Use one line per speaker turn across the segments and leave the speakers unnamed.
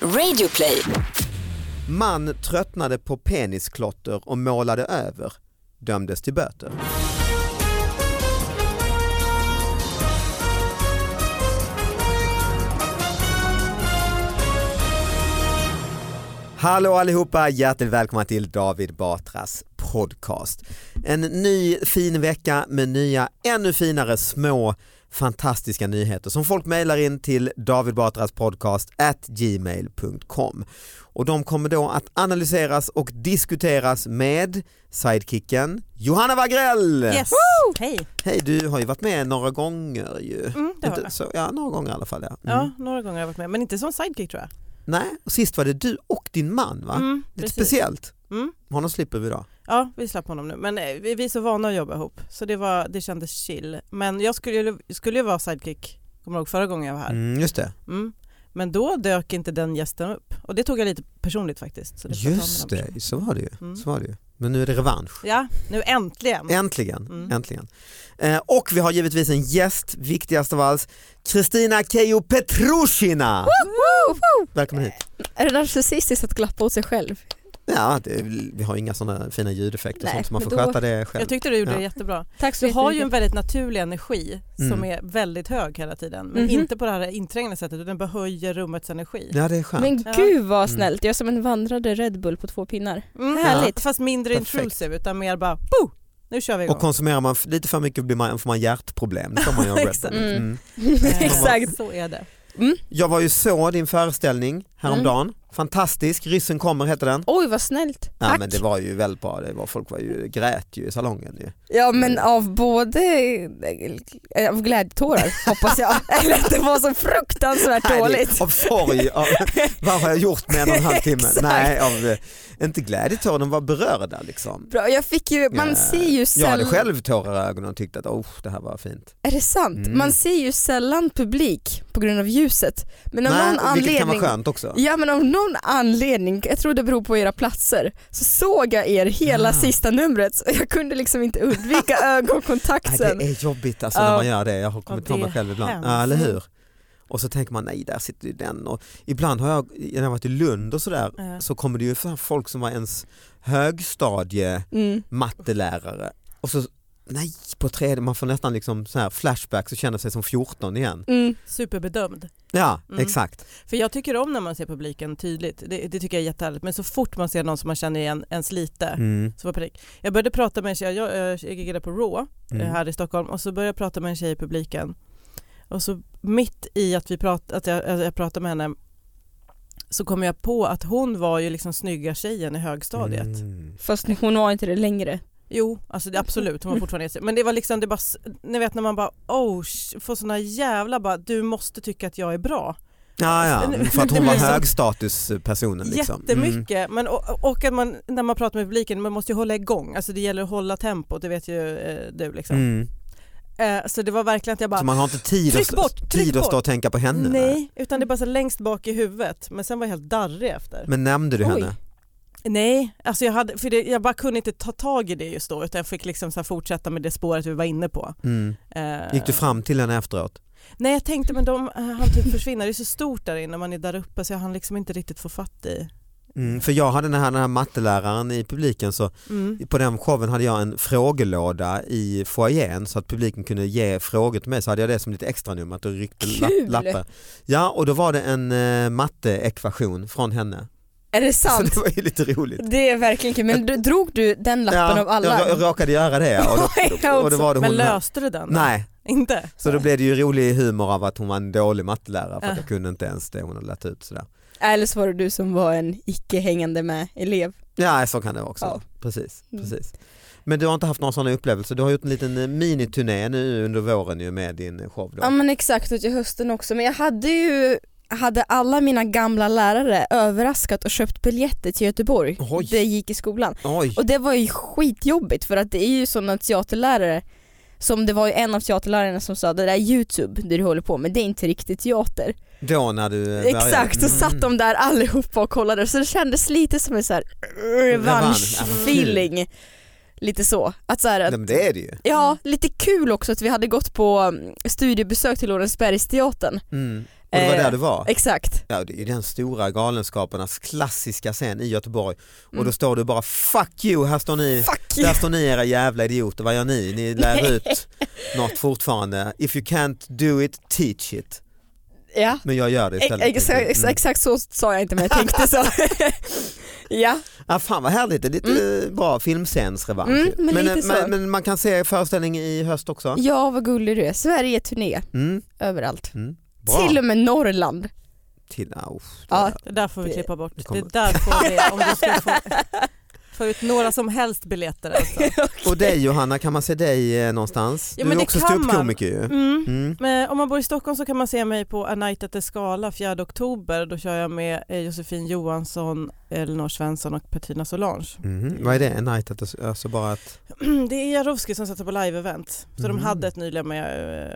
Radioplay.
Man tröttnade på penisklotter och målade över, dömdes till böter. Hallå allihopa, hjärtligt välkomna till David Batras podcast. En ny fin vecka med nya ännu finare små fantastiska nyheter som folk mejlar in till davidbatraspodcast at gmail.com. Och de kommer då att analyseras och diskuteras med sidekicken Johanna Wagrell.
Yes. Hej.
Hej, du har ju varit med några gånger ju.
Mm, det har
Inte,
jag.
så, ja, några gånger i alla fall. Ja. Mm.
Ja, några gånger har jag varit med, men inte som sidekick tror jag.
Nej, och sist var det du och din man va?
Mm,
Lite
precis.
speciellt.
Mm.
Honom slipper vi då.
Ja, vi slapp honom nu, men eh, vi vi är så vana att jobba ihop så det, var, det kändes chill. Men jag skulle, ju- skulle ju vara sidekick, kommer du ihåg förra gången jag var här?
Mm, just det.
Mm. Men då dök inte den gästen upp och det tog jag lite personligt faktiskt. Så det får jag ta
Just
med den
det, så var det, ju.
Mm.
så var det ju. Men nu är det revansch.
Ja, nu äntligen.
Äntligen.
Mm.
Äntligen. Eh, och vi har givetvis en gäst, viktigast av allt, Kristina Keijo Petrushina. Välkommen hit.
Ah. Är det narcissistiskt att glappa åt sig själv?
Ja, det, vi har inga sådana fina ljudeffekter och
Nej,
sånt så man får
men då-
sköta det själv.
Jag tyckte du gjorde
Ja.
det jättebra.
Tack så
Du har ju en
jättemycket.
väldigt naturlig energi som
Mm.
är väldigt hög hela tiden, men
Mhm.
inte på det här inträngande sättet utan bara höjer rummets energi.
Ja, det är skönt.
Men
Ja.
gud vad
Mm.
snällt, jag är som en vandrande Red Bull på två pinnar.
Mm.
Härligt.
Fast mindre
Perfekt.
intrusive utan mer bara Boo! nu kör vi igång.
Och konsumerar man f- lite för mycket blir man, får man hjärtproblem. Det får man ju av Red
Exakt.
Bull.
Mm.
Mm.
Eh,
Exakt. Mm.
Så är det.
Jag var ju så din föreställning häromdagen. Fantastisk, Ryssen kommer heter den.
Oj vad snällt,
Ja,
tack.
men det var ju väldigt bra, det var, folk var ju, grät ju i salongen. Ju.
Ja, men av både eh, av glädjetårar hoppas jag. Eller att det var så fruktansvärt
Nej, det-
dåligt.
Av sorg, av, vad har jag gjort med en och en halv timme?
Exakt.
Nej, av, eh, inte glädjetårar, de var berörda liksom.
Bra, jag fick ju, man
Eh,
ser ju
Jag hade
sällan,
själv tårar i ögonen och tyckte att oh, det här var fint.
är det sant?
Mm.
Man ser ju sällan publik på grund av ljuset. Men av
Nej,
någon
vilket kan
anledning
vara skönt också.
Ja men av någon anledning, jag tror det beror på era platser, så såg jag er hela
Ah.
sista numret så jag kunde liksom inte undvika ögonkontakt
Nej, det
sen.
är jobbigt alltså,
Ja.
när man gör det, jag har kommit
Och
på
det
mig själv ibland.
hemskt.
Ja, eller hur? Och så tänker man nej där sitter ju den. Och ibland har jag, när jag har varit i Lund och sådär,
Ja.
så kommer det ju fram folk som var ens högstadie
Mm.
mattelärare och så nej på tredje, man får nästan liksom så här flashbacks och känner sig som 14 igen.
Mm.
Superbedömd.
Ja
Mm.
exakt.
För jag tycker om när man ser publiken tydligt, det, det tycker jag är jättehärligt, men så fort man ser någon som man känner igen ens lite
Mm.
så var panik. Jag började prata med en tjej, jag, jag, jag giggade på Raw eh,
Mm.
här i Stockholm och så började jag prata med en tjej i publiken och så mitt i att, vi prat, att jag, att jag pratade med henne så kom jag på att hon var ju liksom snygga tjejen i högstadiet.
Mm.
Fast hon var inte det längre.
Jo, alltså det, absolut, hon var fortfarande jättesnygg. Men det var liksom, det bara, s- ni vet när man bara oh, sh- får såna jävla bara, du måste tycka att jag är bra.
Ja, ja,
Nu-
för att
nu
hon var
blir det så-
högstatuspersonen. Liksom.
Jättemycket, men, och, och att man, när man pratar med publiken, man måste ju hålla igång, alltså det gäller att hålla tempot, det vet ju eh, du liksom.
Mm. Mm.
Eh, så det var verkligen att jag
Så
bara,
man har inte tid,
Tryck
att, stå-
bort, tryck
tid att stå
bort.
och tänka på henne. där.
nej, utan det är bara så längst bak i huvudet, men sen var jag helt darrig efter.
Men nämnde du
Oj.
henne?
Nej, alltså jag, hade, för det, jag bara kunde inte ta tag i det just då, utan jag fick liksom så här fortsätta med det spåret vi var inne på.
Mm.
Eh,
Gick du fram till henne efteråt?
Nej jag tänkte men de, han typ försvinner, det är så stort där inne, man är där uppe så jag hann liksom inte riktigt få fatt i.
Mm. För jag hade den här, den här matteläraren i publiken, så
Mm.
på den showen hade jag en frågelåda i foajén så att publiken kunde ge frågor till mig så hade jag det som lite extra nummer att du ryckte la-
Kul!
lappar. Ja och då var det en eh, matteekvation från henne.
Är det
Så
sant?
Alltså, det var ju lite roligt.
Det är verkligen kul, men du, drog du den lappen
ja,
av alla?
Jag, jag råkade göra det ja. och då,
Oj, jag
och då var det hon
Men löste du den? då?
Nej,
Inte?
så då blev det ju rolig humor av att hon var en dålig mattelärare för att jag kunde inte ens det hon hade lagt ut sådär.
Eller så var det du som var en icke hängande med elev.
Ja så kan det också
Ja.
precis,
Mm.
precis. Men du har inte haft någon sån upplevelse, du har gjort en liten eh, miniturné nu under våren ju med din show då.
Ja men exakt och till hösten också men jag hade ju hade alla mina gamla lärare överraskat och köpt biljetter till Göteborg
Oj.
det gick i skolan.
Oj,
Och det var ju skitjobbigt för att det är ju sådana teaterlärare som det var ju en av teaterlärarna som sa det där är youtube det du håller på med det är inte riktigt teater.
då när du eh, började.
Exakt, och
Mm.
satt de där allihopa och kollade så det kändes lite som en så här revansch-feeling. Lite så. Att så här, att,
Nej, men det är det ju.
ja, lite kul också att vi hade gått på mm, studiebesök till mm, Lorensbergsteatern
Mm. Och det var
Eh,
där du var?
Exakt.
Ja, det är ju den stora galenskaparnas klassiska scen i Göteborg och
Mm.
då står du bara fuck you, här står ni,
Fuck
där står ni era jävla idioter, vad gör ni? Ni lär ut något fortfarande. If you can't do it, teach it.
Ja.
Men jag gör det
Ex-
istället. Mm.
exa- ex- Exakt så sa jag inte men jag tänkte så. ja.
Ja, fan vad härligt, det är lite eh, bra filmscensrevansch.
Mm, men lite
eh,
så.
men, men man kan se föreställning i höst också?
ja vad gullig du är, Sverige-turné
Mm,
överallt.
mm. Bra.
Till och med Norrland.
Till, ah, usch, det
Ja.
där.
Det där får vi
Det-
klippa bort.
det kommer-
Det där får vi, om du ska få, få ut några som helst biljetter alltså.
Och dig Johanna, kan man se dig eh, någonstans?
Ja,
du
men
är
det
också
kan
ståuppkomiker ju.
Mm.
Mm.
Men om man bor i Stockholm så kan man se mig på A Night at the Scala 4 oktober. Då kör jag med eh, Josefin Johansson, Elinor Svensson och Petrina Solange.
Mhm. Vad är det? En night at the, alltså bara att,
Det är Jarowski som sätter på live-event. Så
Mm.
de hade ett nyligen med,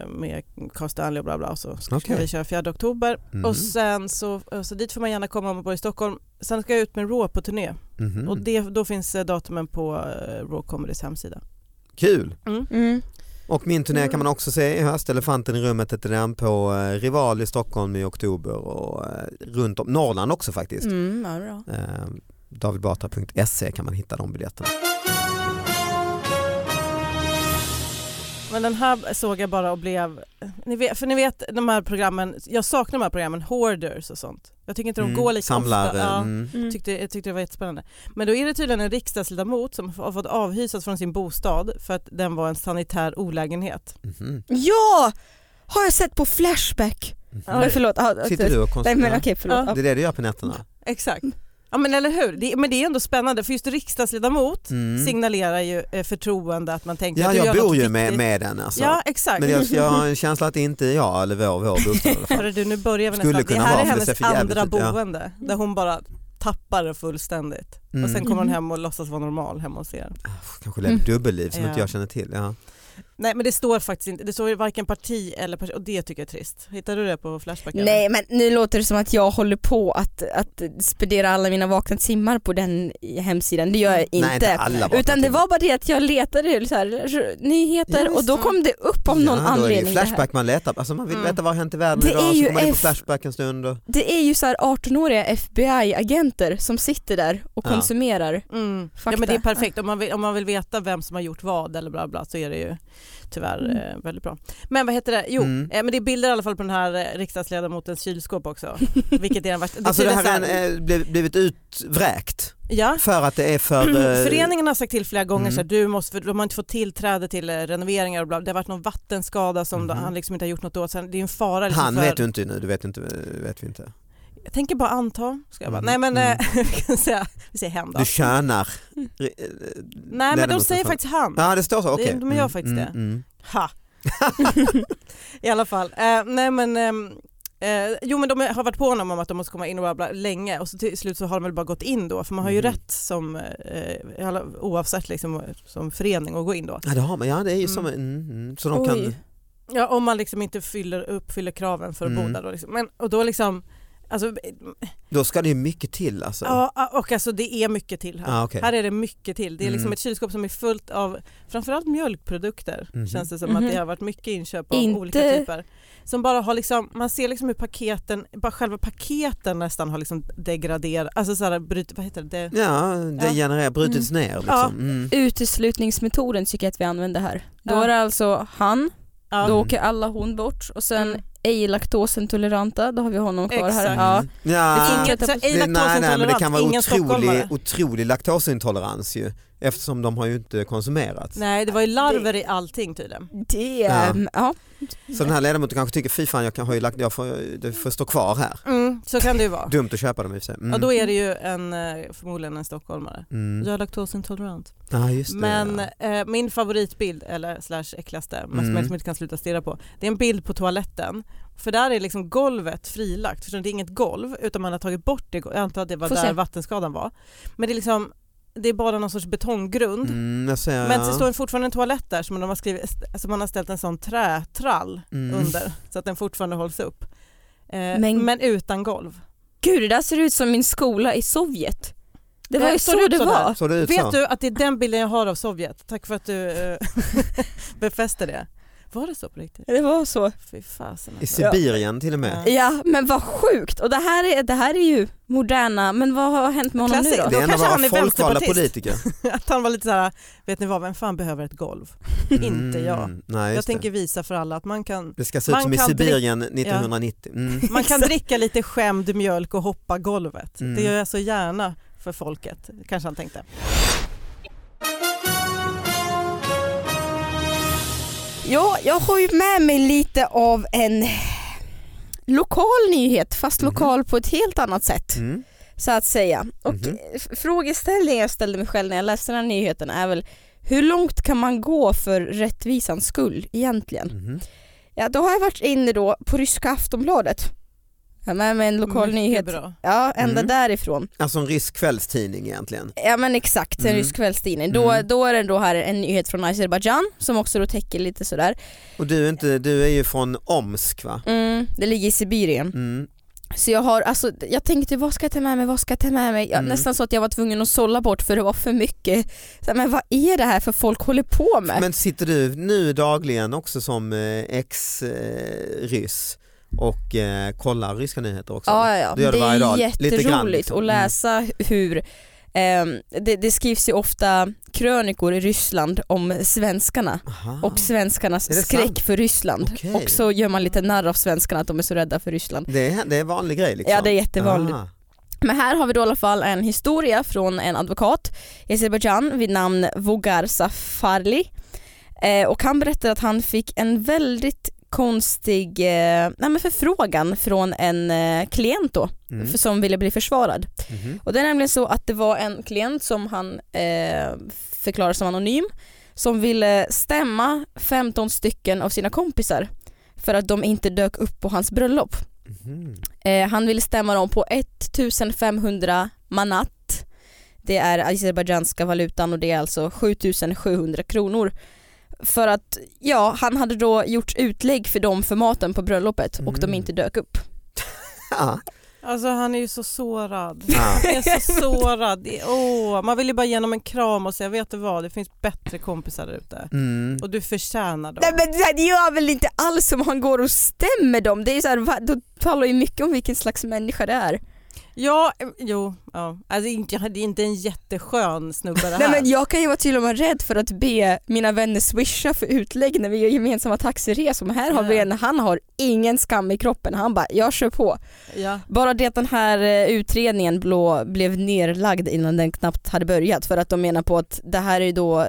eh, med Carl Stanley och bla bla. Och så ska
Okej.
vi köra 4 oktober.
Mm.
Och sen så, eh, så dit får man gärna komma om man bor i Stockholm. Sen ska jag ut med Raw på turné.
Mhm.
Och det, då finns eh, datumen på eh, Raw Comedys hemsida.
Kul!
Mm.
Och min turné
Mm.
kan man också se i höst, Elefanten i rummet heter den, på eh, Rival i Stockholm i oktober och eh, runt om, Norrland också faktiskt.
Mm, ja, bra.
Eh, Davidbatra.se kan man hitta de biljetterna.
Men den här såg jag bara och blev, eh, ni vet, för ni vet de här programmen, jag saknar de här programmen, Hoarders och sånt. Jag tycker inte de går lika
Mm. Samlar,
ofta. Ja.
mm.
Mm.
Tyckte, jag tyckte det var jättespännande. Men då är det tydligen en riksdagsledamot som har fått avhysas från sin bostad för att den var en sanitär olägenhet.
Mhm.
Ja! Har jag sett på Flashback?
Mhm.
Ja,
Nej förlåt. Ja,
Sitter du och
Nej men
konstaterar?
okej förlåt.
Det är det du gör på nätterna?
Exakt.
Mm.
Ja men eller hur, det, men det är ändå spännande för just riksdagsledamot
Mm.
signalerar ju eh, förtroende att man tänker
Ja,
att du
jag
gör
bor
något
ju med,
viktigt.
med den alltså.
Ja exakt.
Men jag, jag har en känsla att det inte är jag eller vår, vår bostad. i alla fall.
Hörru du, nu börjar vi
Skulle
nästan. Det
kunna
här
vara,
är
men det ser
hennes
för jävligt
andra
ut, ja.
boende där hon bara tappar det fullständigt.
Mm.
Och sen kommer hon
Mhm.
hem och låtsas vara normal hemma hos er.
Kanske lever dubbelliv som
Ja.
inte jag känner till. Ja.
Nej men det står faktiskt inte, det står ju varken parti eller person och det tycker jag är trist. Hittar du det på Flashbacken?
Nej men nu låter det som att jag håller på att, att spendera alla mina vakna timmar på den i- hemsidan, det gör jag inte.
Mm. Nej, inte alla vakna
Utan det
timmar.
var bara det att jag letade så här, nyheter
Ja,
och då
visst.
kom det upp om någon
då är det
anledning.
ju
det här.
Flashback man letar alltså man vill
Mm.
veta vad har hänt i världen
Det
idag
är
så
ju
går man in på
F-
Flashback en stund. Och...
Det är ju så här 18-åriga FBI-agenter som sitter där och
Ja.
konsumerar.
Mm. Ja
Fakta.
men det är perfekt, om man, vill, om man vill veta vem som har gjort vad eller bla bla så är det ju tyvärr
Mm.
eh, väldigt bra. Men vad heter det, jo
Mm.
eh, men det är bilder i alla fall på den här eh, riksdagsledamotens kylskåp också. Vilket är den värsta.
Alltså det
tydligen
här
så
är en, eh, bliv- blivit utvräkt
ja.
för att det är för... eh,
Mm, Föreningen har sagt till flera gånger
Mm.
så här, du måste, för de har inte fått tillträde till eh, renoveringar och bla, det har varit någon vattenskada som
Mhm.
han liksom inte har gjort något åt. Så det är en fara. Liksom
Han
för,
vet du inte nu, du vet, inte, vet vi inte.
Jag tänker bara anta. Ska jag bara.
Mm.
Nej men eh, vi kan säga, vi säger hem då.
Du tjänar.
Mm.
eh,
Nej men de säger faktiskt han.
Ja det står så, okej.
de gör faktiskt det.
Mm.
Ha. I alla fall. Eh, nej men, ehm, eh, jo men de har varit på honom om att de måste komma in och bla bla länge och så till slut så har de väl bara gått in då för man har ju
Mm.
rätt som eh, alla- oavsett liksom, som förening att gå in då.
Ja det har man, ja det är ju som, mm. mm, så de kan...
Oj.
Ja om man liksom inte fyller, uppfyller kraven för att
Mm.
bo där då liksom. Men, och då liksom, alltså,
Då ska det ju mycket till alltså.
ja, och alltså det är mycket till här.
Ah, okej.
Här är det mycket till. Det är liksom
Mm.
ett kylskåp som är fullt av framförallt mjölkprodukter
Mhm.
känns det som
Mhm.
att det har varit mycket inköp av
Inte-
olika typer. Som bara har liksom, man ser liksom hur paketen, bara själva paketen nästan har liksom degraderat, alltså såhär bryt, vad heter det? det?
Ja, det
Ja.
genererar, brutits ner
Ja.
liksom. Mm.
Uteslutningsmetoden tycker jag att vi använder här. Då
Ja.
är det alltså han,
Ja.
då
Mm.
åker alla hon bort och sen
Mm.
ej laktosintoleranta, då har vi honom kvar här.
Exakt.
Ja.
Mm. Ja.
Det är
Ah.
inget så här, ej
Det- nej, nej, men det
laktosintolerant,
kan vara
ingen stockholmare.
otrolig, otrolig laktosintolerans ju eftersom de har ju inte konsumerats.
Nej det var ju larver i allting tydligen.
Det,
Ja.
ja. ja.
Så den här ledamoten kanske tycker fy fan jag, kan, har ju lakt, jag får, det får stå kvar här.
Mm, så kan det ju vara.
Dumt att köpa dem i och för sig. Mm.
Ja då är det ju en, eh, förmodligen en stockholmare.
Mm.
Jag är laktosintolerant.
Ja, just det,
Men
ja.
eh, min favoritbild, eller slash äckligaste, men som
Mm.
jag liksom inte kan sluta stirra på, det är en bild på toaletten. För där är liksom golvet frilagt, för det är inget golv utan man har tagit bort det, jag antar att det var
Får
där
se.
vattenskadan var. Men det är liksom, det är bara någon sorts betonggrund.
Mm, jag ser,
Men
ja.
så står det fortfarande en toalett där som de har, skrivit, alltså man har ställt en sån trätrall
Mm.
under så att den fortfarande hålls upp. Eh, men...
Men-
utan golv.
Gud det där ser ut som min skola i Sovjet. Det var
Eh,
ju
såg det
så
ut
det
så där?
var.
Såg det ut så?
Vet du att det är den bilden jag har av Sovjet? Tack för att du eh, befäste det. Var det så på riktigt?
Det var så.
Fy fasen
I
alltså.
Ja.
Sibirien till och med.
Ja men vad sjukt och det här är, det här är ju moderna, men vad har hänt med honom
Klassik.
nu då?
Det är en av
kanske
våra
han är
folkvalda
vänsterpartist.
politiker.
Att han var lite så här, vet ni vad, vem fan behöver ett golv? Inte jag.
Mm, nej,
Jag
just det.
tänker visa för alla att man kan,
det ska se ut
man
som i
kan
Sibirien 1990. Mm.
man kan dricka lite skämd mjölk och hoppa golvet.
Mm.
Det gör jag så gärna för folket, kanske han tänkte.
Ja, jag har ju med mig lite av en lokal nyhet fast
Mhm.
lokal på ett helt annat sätt
Mm.
så att säga. Och
Mhm.
f- frågeställningen jag ställde mig själv när jag läste den här nyheten är väl hur långt kan man gå för rättvisans skull egentligen?
Mhm.
Ja, då har jag varit inne då på ryska Aftonbladet. Jag har med mig en lokal
Mm, Mycket
nyhet.
Bra.
Ja, ända
Mm.
därifrån.
Alltså en rysk kvällstidning egentligen.
Ja men exakt, en
Mm.
rysk kvällstidning. Då,
Mm.
då är det då här en nyhet från Azerbajdzjan som också då täcker lite sådär.
Och du är, inte, du är ju från Omsk va?
Mm, det ligger i Sibirien.
Mm.
Så jag har, alltså jag tänkte vad ska jag ta med mig, vad ska jag ta med mig? Ja,
Mm.
Nästan så att jag var tvungen att sålla bort för det var för mycket. Så, här, men vad är det här för folk håller på med?
Men sitter du nu dagligen också som eh, ex-ryss och eh, kollar ryska nyheter också?
ja, ja, ja.
Du gör det varje dag,
är
lite grann,
jätteroligt
liksom.
att
Mm.
läsa hur ehm, det, det skrivs ju ofta krönikor i Ryssland om svenskarna
Aha.
och svenskarnas
Ah. Är det
skräck
sant?
för Ryssland.
Okej.
Och så gör man lite narr av svenskarna att de är så rädda för Ryssland.
det, är, det är en vanlig grej liksom?
Ja det är jättevanligt.
Ah.
Men här har vi då i alla fall en historia från en advokat i Azerbaijan vid namn Vogar Safarli. Eh, och han berättar att han fick en väldigt konstig eh, nej men förfrågan från en eh, klient då
Mm.
för, som ville bli försvarad.
Mhm.
Och det är nämligen så att det var en klient som han eh, förklarar som anonym som ville stämma 15 stycken av sina kompisar för att de inte dök upp på hans bröllop.
Mhm.
Eh, han ville stämma dem på 1500 manat. Det är azerbajdzjanska valutan och det är alltså 7700 kronor. För att ja, han hade då gjort utlägg för dem för maten på bröllopet och de
Mm.
inte dök upp.
Ja.
Alltså han är ju så sårad.
Ja.
Jag är så sårad. Det- Åh, man vill ju bara ge honom en kram och säga vet du vad, det finns bättre kompisar där ute.
Mm.
Och du förtjänar dem.
Nej men det här gör väl inte alls som han går och stämmer dem. Det är ju så här, va- då talar ju mycket om vilken slags människa det är.
Ja, eh, jo. Ja. Alltså, inte- det är inte en jätteskön snubbe det här.
Nej men jag kan ju vara till och med rädd för att be mina vänner swisha för utlägg när vi gör gemensamma taxiresor. Men här har vi
Ja.
en, han har ingen skam i kroppen. Han bara, jag kör på.
ja.
Bara det att den här eh, utredningen blå, blev nerlagd innan den knappt hade börjat för att de menar på att det här är ju då,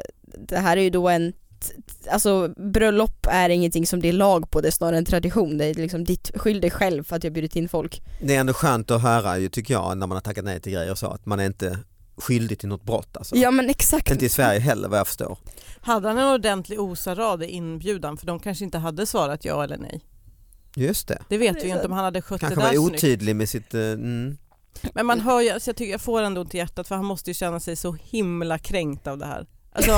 det här är ju då en t- t- Alltså bröllop är ingenting som det är lag på, det är snarare en tradition. Det är liksom ditt, skyll dig själv för att jag bjudit in folk.
Det är ändå skönt att höra ju, tycker jag när man har tackat nej till grejer och så att man är inte skyldig till något brott alltså.
Ja men exakt.
Inte i Sverige heller vad jag förstår.
Hade han en ordentlig osarad i inbjudan för de kanske inte hade svarat ja eller nej.
Just det.
Det vet vi ju inte om han hade skött
Kanske
det
var
där snyggt.
otydlig med sitt... eh, Mm.
Men man hör ju, alltså jag, tycker, jag får ändå ont i hjärtat för han måste ju känna sig så himla kränkt av det här. Alltså,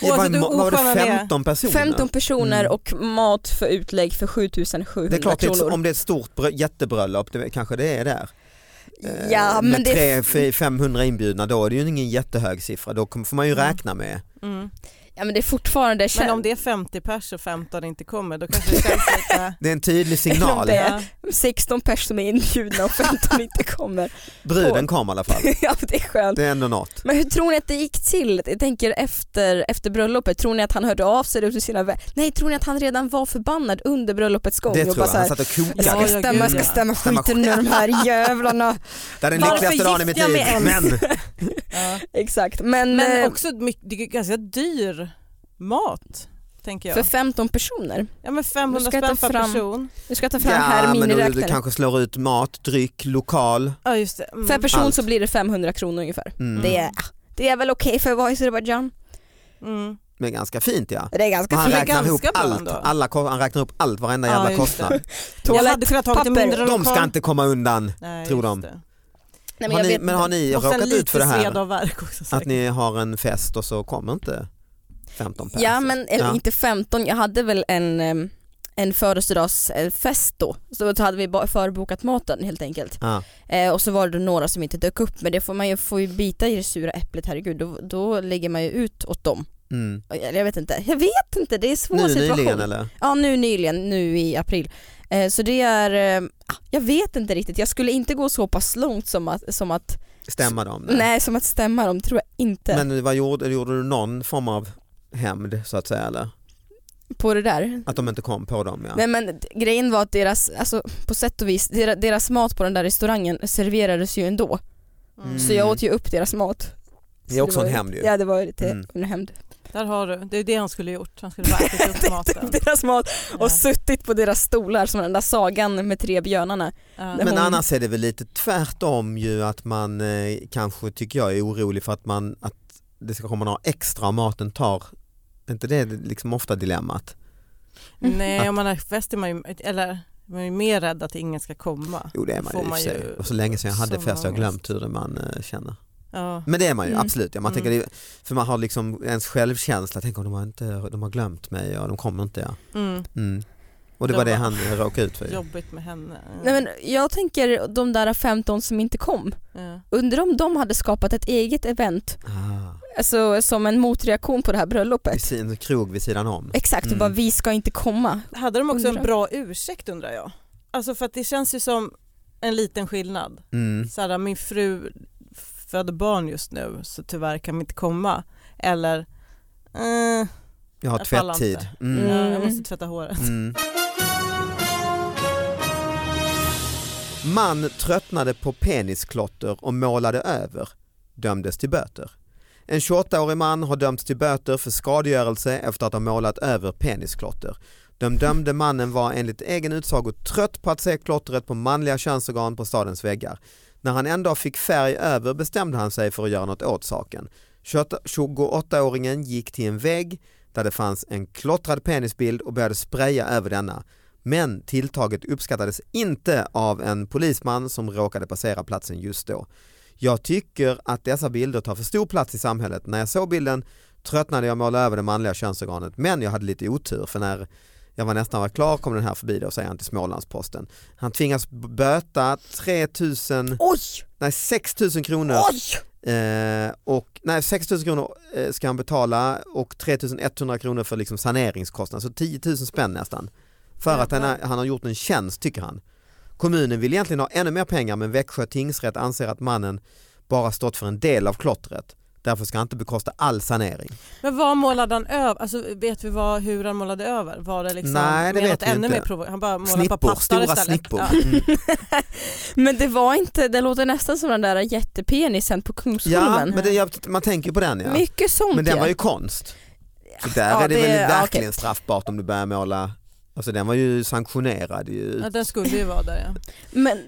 Det var,
oavsett hur
vad var
oskön han
det
är.
15 personer?
15 personer
Mm.
och mat för utlägg för 7700
det är klart, det är ett,
kronor.
om det är ett stort brö- jättebröllop, det kanske det är där. Eh,
ja men
med
det,
tre, fy- 500 inbjudna, då är det ju ingen jättehög siffra. Då kommer- får man ju
Mm.
räkna med.
Mm.
ja, men det är fortfarande
Men
känt.
om det är 50 pers och 15 inte kommer då kanske det känns lite...
Det är en tydlig signal.
Det är-
Ja.
16 personer som är inbjudna och 15 inte kommer.
Bruden kom i alla fall.
ja det är skönt.
Det är ändå något.
Men hur tror ni att det gick till? Jag tänker efter, efter bröllopet, tror ni att han hörde av sig ut till sina vänner? Nej, tror ni att han redan var förbannad under bröllopets gång?
Det
Och
tror
bara
jag.
så
Han
här,
satt och
jag
kokade.
ska
Ja, ja,
stämma, jag
gud,
ska
ja.
stämma
Stämma
skiten ur de här jävlarna.
Det är den
Varför
lyckligaste dagen i mitt
gifte
liv.
jag mig
Men
Ja.
Exakt, men,
Men
eh,
också mycket, det är ganska dyr mat tänker
för
jag.
15 personer.
Ja men
Nu
500
ska jag
spänn
ta
per
fram-
person.
Nu ska jag ta fram
ja,
här
men
min
du, du
räknare.
kanske slår ut mat, dryck, lokal.
Ja just det. Mm.
Per person
Allt.
så blir det 500 kronor ungefär.
Mm.
Det, är, det är väl okej för att vara i Azerbajdzjan?
Mm.
Men ganska fint ja.
Det är ganska
Och han
fint.
är
räknar,
ganska
ihop
bra
allt,
ändå.
alla, ko- han räknar upp allt, varenda
Ja,
jävla
just det.
kostnad.
Jag hade kunnat tagit en
Toalettpapper.
mindre
De ska
lokal.
inte komma undan.
Nej,
tror
just
de.
det.
Nej, men
Har
jag
ni,
vet
men
inte.
har ni
Och sen
råkat ut för det
lite
här?
sved av värk också
Att
säkert.
ni har en fest och så kommer inte 15 personer?
Ja men eller
Ja.
inte 15, jag hade väl en, em, en födelsedagsfest då. Så då hade vi ba- förbokat maten helt enkelt.
Ja.
Eh, och så var det några som inte dök upp men det får man ju, får ju bita i det sura äpplet herregud. Då, då lägger man ju ut åt dem
Mm.
Eller jag vet inte, jag vet inte, det är en svår
Nu
situation.
nyligen eller?
Ja nu nyligen, nu i april. Eh, så det är, eh, ah, jag vet inte riktigt, jag skulle inte gå så pass långt som att, som att
Stämmer de?
nej. som att stämma dem tror jag inte.
Men vad gjorde, gjorde du någon form av hämnd så att säga eller?
på det där.
Att de inte kom på dem ja.
Nej men grejen var att deras, alltså på sätt och vis, deras, deras mat på den där restaurangen serverades ju ändå.
Mm.
Så jag åt ju upp deras mat.
det är också
Så
en
var ju-
hämnd ju.
Ja det var ju lite
Mm.
en hämnd.
Där har du, det är det han skulle ha gjort. Han skulle bara ätit upp maten.
deras mat och
Ja.
suttit på deras stolar som den där sagan med tre björnarna.
Mm.
Ja.
Nej,
Men
hon-
annars är det väl lite tvärtom ju att man eh, kanske tycker jag är orolig för att, man, att det ska komma några extra och maten tar. Är inte det liksom ofta dilemmat?
Nej, om man är fest är man ju, eller man är ju mer rädd att ingen ska komma.
Jo det är man ju i
Får
och för
man
sig.
ju
Och så länge sedan jag hade
sån
fest har jag
ångest.
glömt hur det man eh, känner.
Ja.
Men det är man ju
Mm.
absolut. Ja, man
Mm.
tänker det, för man har liksom ens självkänsla. Tänk om de har, inte, de har glömt mig och de kommer inte. Ja.
Mm.
Mm. Och det
De
var det
bara,
han råkade ut för. ju.
Jobbigt med henne. Ja.
Nej men jag tänker de där 15 som inte kom,
Ja.
undrar om de hade skapat ett eget event,
Ah,
alltså som en motreaktion på det här bröllopet.
vid Ah, sin- en krog vid sidan om.
Exakt,
Mm.
och bara vi ska inte komma.
Hade de också en
Undrar.
bra ursäkt undrar jag? Alltså för att det känns ju som en liten skillnad.
Mm.
Så här, min fru föder barn just nu så tyvärr kan vi inte komma. Eller,
Mm.
eh,
Jag har
Jag pallar
tvätttid.
inte.
Mm.
ja, jag måste tvätta håret.
Mm. Man tröttnade på penisklotter och målade över, dömdes till böter. En 28-årig man har dömts till böter för skadegörelse efter att ha målat över penisklotter. Den dömde mannen var enligt egen utsago trött på att se klottret på manliga könsorgan på stadens väggar. När han en dag fick färg över bestämde han sig för att göra något åt saken. 28- 28-åringen gick till en vägg där det fanns en klottrad penisbild och började spraya över denna. Men tilltaget uppskattades inte av en polisman som råkade passera platsen just då. Jag tycker att dessa bilder tar för stor plats i samhället. När jag såg bilden tröttnade jag måla över det manliga könsorganet men jag hade lite otur för när jag var nästan var klar kom den här förbi då säger han till Smålandsposten. Han tvingas böta 3000,
Oj!
nej 6000 kronor
Oj!
Eh, och, nej, 6 000 kronor eh, ska han betala och 3 100 kronor för liksom saneringskostnad, så 10 000 spänn nästan. För att han, har- han har gjort en tjänst tycker han. Kommunen vill egentligen ha ännu mer pengar men Växjö tingsrätt anser att mannen bara stått för en del av klottret. Därför ska han inte bekosta all sanering.
Men vad målade han över? Alltså, vet vi vad, hur han målade över? Var det liksom
Nej, det
med
vet
något
vi
ännu
inte.
mer provo- Han bara målade på
Snippor,
pattar
stora
istället.
snippor.
Ja.
Mm.
Men det var inte, det låter nästan som den där jättepenisen på
Ja,
Kungsholmen.
men det, jag- man tänker på den ja.
Mycket sånt
Men den
ja.
var ju konst. Så där
Ja,
är det,
det- ja,
väl
okej.
verkligen straffbart om du börjar måla. Alltså den var ju sanktionerad ju
Ja, den skulle ju vara där ja.
Men,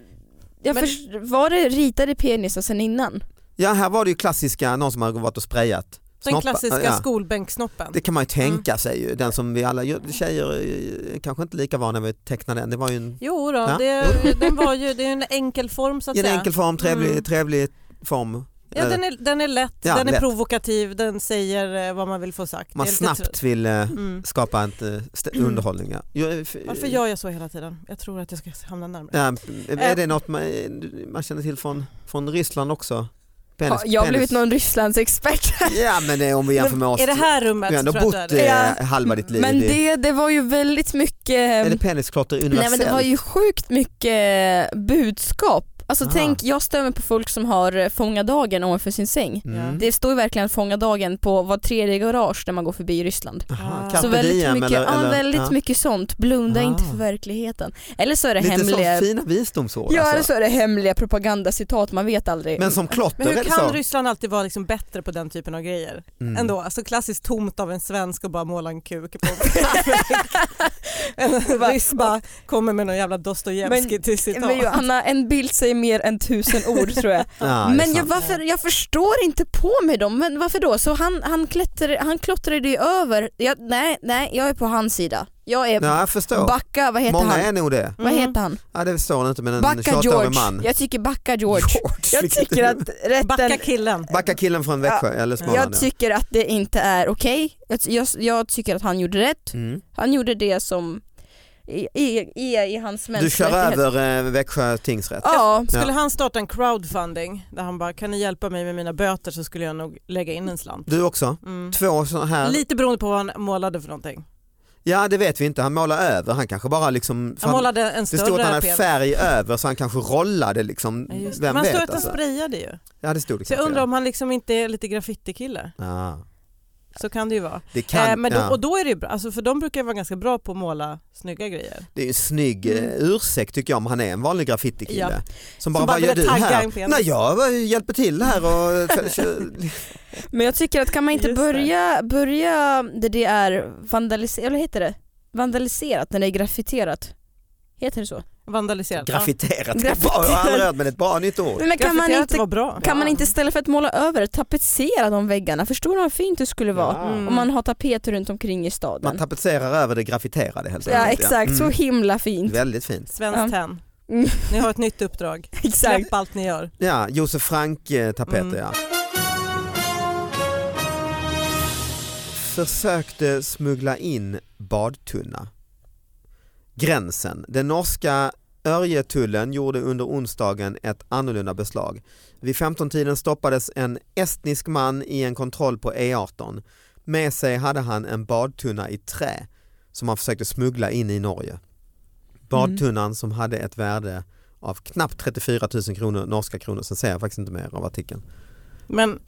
jag
Men-
först- var det ritade penisar sen innan?
Ja här var det ju klassiska, någon som har varit och sprayat.
Den
Snoppa-
klassiska Mm.
ja.
skolbänksnoppen.
Det kan man ju tänka sig ju, den som vi alla tjejer är kanske inte lika vana vid att teckna den. Det var ju en,
Jo då,
Ja.
det, den var ju, det är ju en enkel form så att
i en
säga.
enkel form, trevlig,
Mm.
trevlig form. Eh,
Ja, den, är, den är lätt,
Ja,
den är
lätt.
provokativ, den säger eh, vad man vill få sagt.
man
Det är lite trött.
snabbt vill eh,
Mm.
skapa en eh, st- underhållning. Ja. Jo, eh, f-
Varför gör Eh. jag så hela tiden? Jag tror att jag ska hamna närmare.
Ja, är det något man, eh, man känner till från, från Ryssland också? Penis,
Ja, jag har
penis.
blivit någon Rysslandsexpert här.
Ja men eh, om vi jämför med oss,
Är det här rummet
du har ändå
så tror
bott
jag att det är Mm. det.
det.
eh, halva ditt liv.
Men
i-
det, det var ju väldigt mycket,
är det penisklotter
nej
universellt?
men det var ju sjukt mycket budskap. Alltså
Ah.
tänk, jag stämmer på folk som har eh, fånga dagen ovanför sin säng.
Mm.
Det står ju verkligen fånga dagen på var tredje garage när man går förbi i Ryssland.
Aha,
Ah.
carpe
så väldigt,
diem
mycket,
eller,
ja,
eller,
väldigt
ja.
mycket sånt, blunda
Ah.
inte för verkligheten. Eller så är det
Lite
hemliga
så fina visdomsord.
Ja eller
alltså.
så är det hemliga propagandacitat, man vet aldrig.
Men som klotter
Men hur
är det
kan
så.
Ryssland alltid vara liksom bättre på den typen av grejer?
Mm.
Ändå, alltså klassiskt tomt av en svensk och bara måla en kuk på. en
Bara-
ryss bara kommer med någon jävla Dostojevskij
Men-
till citat.
Men Johanna, en bild säger mer än tusen ord tror jag.
Ja, det är
men jag,
sant.
varför, jag förstår inte på mig dem, men varför då? Så han, han, klättrar, han klottrade ju över, jag, nej, nej jag är på hans sida. Jag är
Ja, jag förstår.
Backa, vad heter
Många
han?
är nog det.
Vad heter han?
Ja, det står inte men en
Backa
28-årig
George.
man.
Jag tycker Backa George. Jag
vilket-
tycker att
Backa
rätten,
killen.
Backa killen från Växjö eller Småland.
jag
ja.
tycker att det inte är okej. Jag, jag, jag tycker att han gjorde rätt.
Mm.
Han gjorde det som i, i, i, i hans
Du
mänskliga
kör
rättigheter.
över eh, Växjö tingsrätt.
Ja,
Skulle han starta en crowdfunding där han bara kan ni hjälpa mig med mina böter så skulle jag nog lägga in en slant.
Du också?
Mm.
Två sådana här.
Lite beroende på vad han målade för någonting.
Ja det vet vi inte, han målar över. Han kanske bara liksom... för
Han
Han,
målade en
det
större
stod att han hade
penis.
färg över så han kanske rollade liksom.
Ja, just det.
Vem
Men han står
vet
att han
alltså.
sprayade ju.
Ja det stod det
Så jag
kanske,
undrar
ja.
om han liksom inte är lite graffitikille.
Ja.
Så kan det ju vara.
Det, kan,
eh, men då,
ja.
Och då är det ju bra, alltså, för de brukar ju vara ganska bra på att måla snygga grejer.
det är en snygg eh, ursäkt tycker jag om han är en vanlig graffitikille. Som bara,
bara
vad gör
ville
du
tagga
här?
en penis."
Nej jag eh, hjälper till här och...
men jag tycker att kan man inte
Just det.
börja, börja där det är vandaliserat, eller heter det? Vandaliserat, när det är graffiterat. Heter det så?
Vandaliserat.
Graffiterat,
Graffiterat.
Bra, jag har aldrig hört men ett bra nytt ord.
Men
ja.
kan man,
Graffiterat
inte,
var bra.
kan man
Ja.
inte istället för att måla över tapetsera de väggarna? Förstår du vad fint det skulle vara?
Ja.
Mm.
Om man har tapeter runt omkring i
Man
staden.
tapetserar över det graffiterade helt
Ja exakt, så
Mm.
himla fint.
Väldigt fint.
Svenskt
Ja.
Tenn.
Mm.
Ni har ett nytt uppdrag.
exakt.
Släpp allt ni gör.
Ja, Josef Frank-tapeter
Mm.
ja. Försökte smuggla in badtunna. Gränsen. Den norska Örjetullen gjorde under onsdagen ett annorlunda beslag. Vid 15-tiden stoppades en estnisk man i en kontroll på E18. Med sig hade han en badtunna i trä som han försökte smuggla in i Norge. Badtunnan som hade ett värde av knappt 34 000 kronor, norska kronor, sen säger jag faktiskt inte mer av artikeln.
Men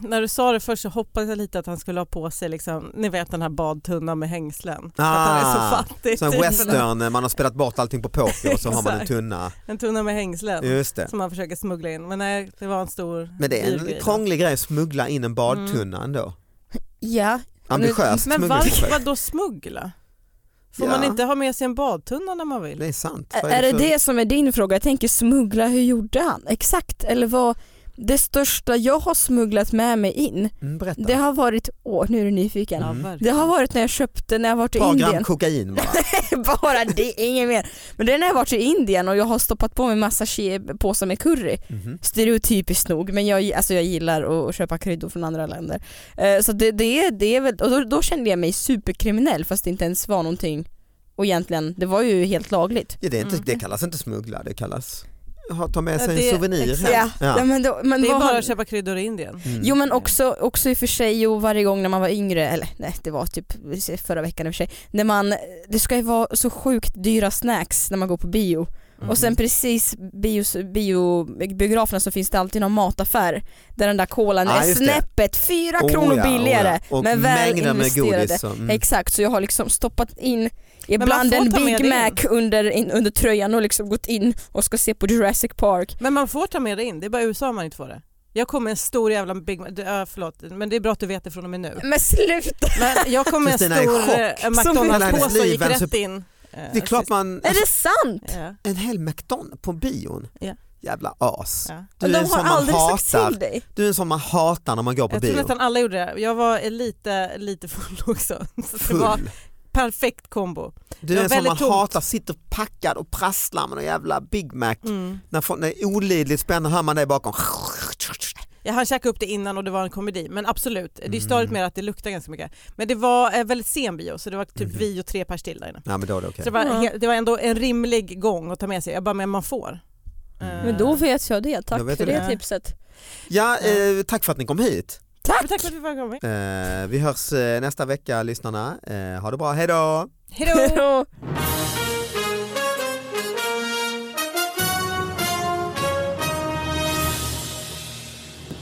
när du sa det först så hoppades jag lite att han skulle ha på sig liksom, ni vet den här badtunnan med hängslen. För att han är
Ah,
så fattig.
Sån här
typ.
western, eh, man har spelat bort allting på poker och så har man en
Exakt.
tunna.
En tunna med hängslen
Just det.
som han försöker smuggla in. Men nej, det var en stor
Men det är
dyr grej.
en krånglig grej att smuggla in en
Mm.
badtunna ändå.
Ja,
Ambitiöst
Men varför,
smugglingsprojekt.
vadå smuggla? Får
Ja. Mm.
man inte ha med sig en badtunna när man vill?
Det är sant.
Ä-
Vad
är det
för-
det som är din fråga? Jag tänker smuggla, hur gjorde han? Exakt, eller vad det största jag har smugglat med mig in,
Mm, berätta.
det har varit, åh nu är du nyfiken.
Mm.
Det
verkligen.
har varit när jag köpte, när jag varit i
Ett par gram
Indien.
kokain bara.
Bara det, inget mer. Men det är när jag varit i Indien och jag har stoppat på mig massa ke- påsar med curry.
Mhm.
Stereotypiskt nog, men jag, alltså jag gillar att- att köpa kryddor från andra länder. Eh, Så det, det, är, det är väl, och då, då kände jag mig superkriminell fast det inte ens var någonting. Och egentligen, det var ju helt lagligt.
Ja, det, är inte,
Mm.
det kallas inte smuggla, det kallas ha, ta med
Ja,
sig
det-
en souvenir
exakt.
hem. Ja.
Ja, men då, men
Det är
vad
bara
har-
att köpa kryddor i Indien.
Mm.
Jo men också, också i och för sig och varje gång när man var yngre, eller nej det var typ förra veckan i och för sig, när man, det ska ju vara så sjukt dyra snacks när man går på bio.
Mm.
Och sen precis bios, bio, biograferna så finns det alltid någon mataffär där den där kolan
Ah,
är
just det.
snäppet fyra
Oh,
kronor
ja, oh, ja.
billigare
Och
men väl
mängder med
investerade.
godis. och- mm.
Exakt, så jag har liksom stoppat in
man
ibland
får
en
ta med
Big
det
Mac
in.
under, in, under tröjan och liksom gått in och ska se på Jurassic Park.
Men man får ta med det in, det är bara i USA man inte får det. Jag kom med en stor jävla Big Mac, det- ja, förlåt men det är bra att du vet det från och med nu.
Men sluta!
Men jag kom med en
Kristina är i
stor
chock.
eh, en
Hela hennes
McDonalds-påse och
liv,
gick
vem
rätt
som-
in. eh,
Det är klart man, alltså,
Är det sant?
sist. Ja,
en hel McDonald's på bion.
Ja.
Jävla as.
ja.
Du är,
de
en
har
sån man
aldrig sagt
hatar.
till dig.
du är en sån man hatar när man går på
Jag tror
bio.
nästan alla gjorde det. Jag var lite, lite full också. Så det var
Full.
perfekt kombo.
Du
Det
är
var
en sån man
väldigt tomt.
hatar, sitter packad och prasslar med en jävla Big Mac.
Mm.
När folk- när det är olidligt spännande hör man det bakom.
Jag hann käka upp det innan och det var en komedi men absolut, det är
Mm.
störigt med att det luktar ganska mycket. Men det var eh, väldigt sen bio så det var typ
Mhm.
vi och tre pers till där inne.
Nej men då är det okej.
Så det var,
Ja.
he- det var ändå en rimlig gång att ta med sig, jag bara men man får. Eh.
Mm.
Men då vet jag det, tack
Jag vet
för
det.
det tipset.
Ja, eh, tack för att ni kom hit.
Men Tack för att vi fick komma.
Eh, vi hörs eh, nästa vecka lyssnarna. Eh, ha det bra, hej då!
Hejdå!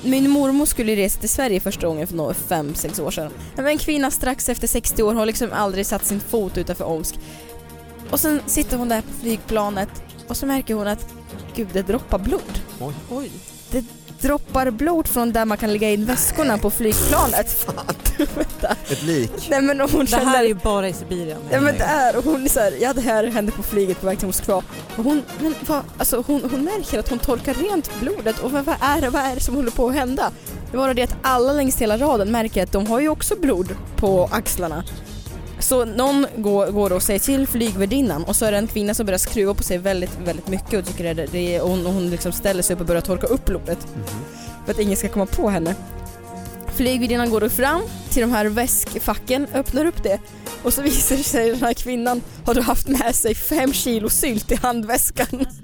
Min mormor skulle resa till Sverige första gången för några 5-6 år sedan. Men en kvinna strax efter 60 år har liksom aldrig satt sin fot utanför Omsk. Och sen sitter hon där på flygplanet och så märker hon att gud det droppar blod.
Oj.
Oj.
Det droppar blod från där man kan lägga in väskorna på flygplanet. Vänta.
Ett lik.
Nej men hon
Det här
känner
är ju bara i Sibirien.
Ja men det är, och hon är så här, ja det här hände på flyget på väg till Moskva. Och hon, men vad, alltså hon, hon märker att hon torkar rent blodet och vad, vad, är det, vad är det som håller på att hända? Det var det att alla längs hela raden märker att de har ju också blod på axlarna. Så någon går, går och säger till flygvärdinnan och så är det en kvinna som börjar skruva på sig väldigt, väldigt mycket och tycker det, det är, och hon, hon liksom ställer sig upp och börjar torka upp blodet
Mhm.
för att ingen ska komma på henne. Flygvärdinnan går då fram till de här väskfacken, öppnar upp det Och så visar det sig den här kvinnan har då haft med sig fem kilo sylt i handväskan.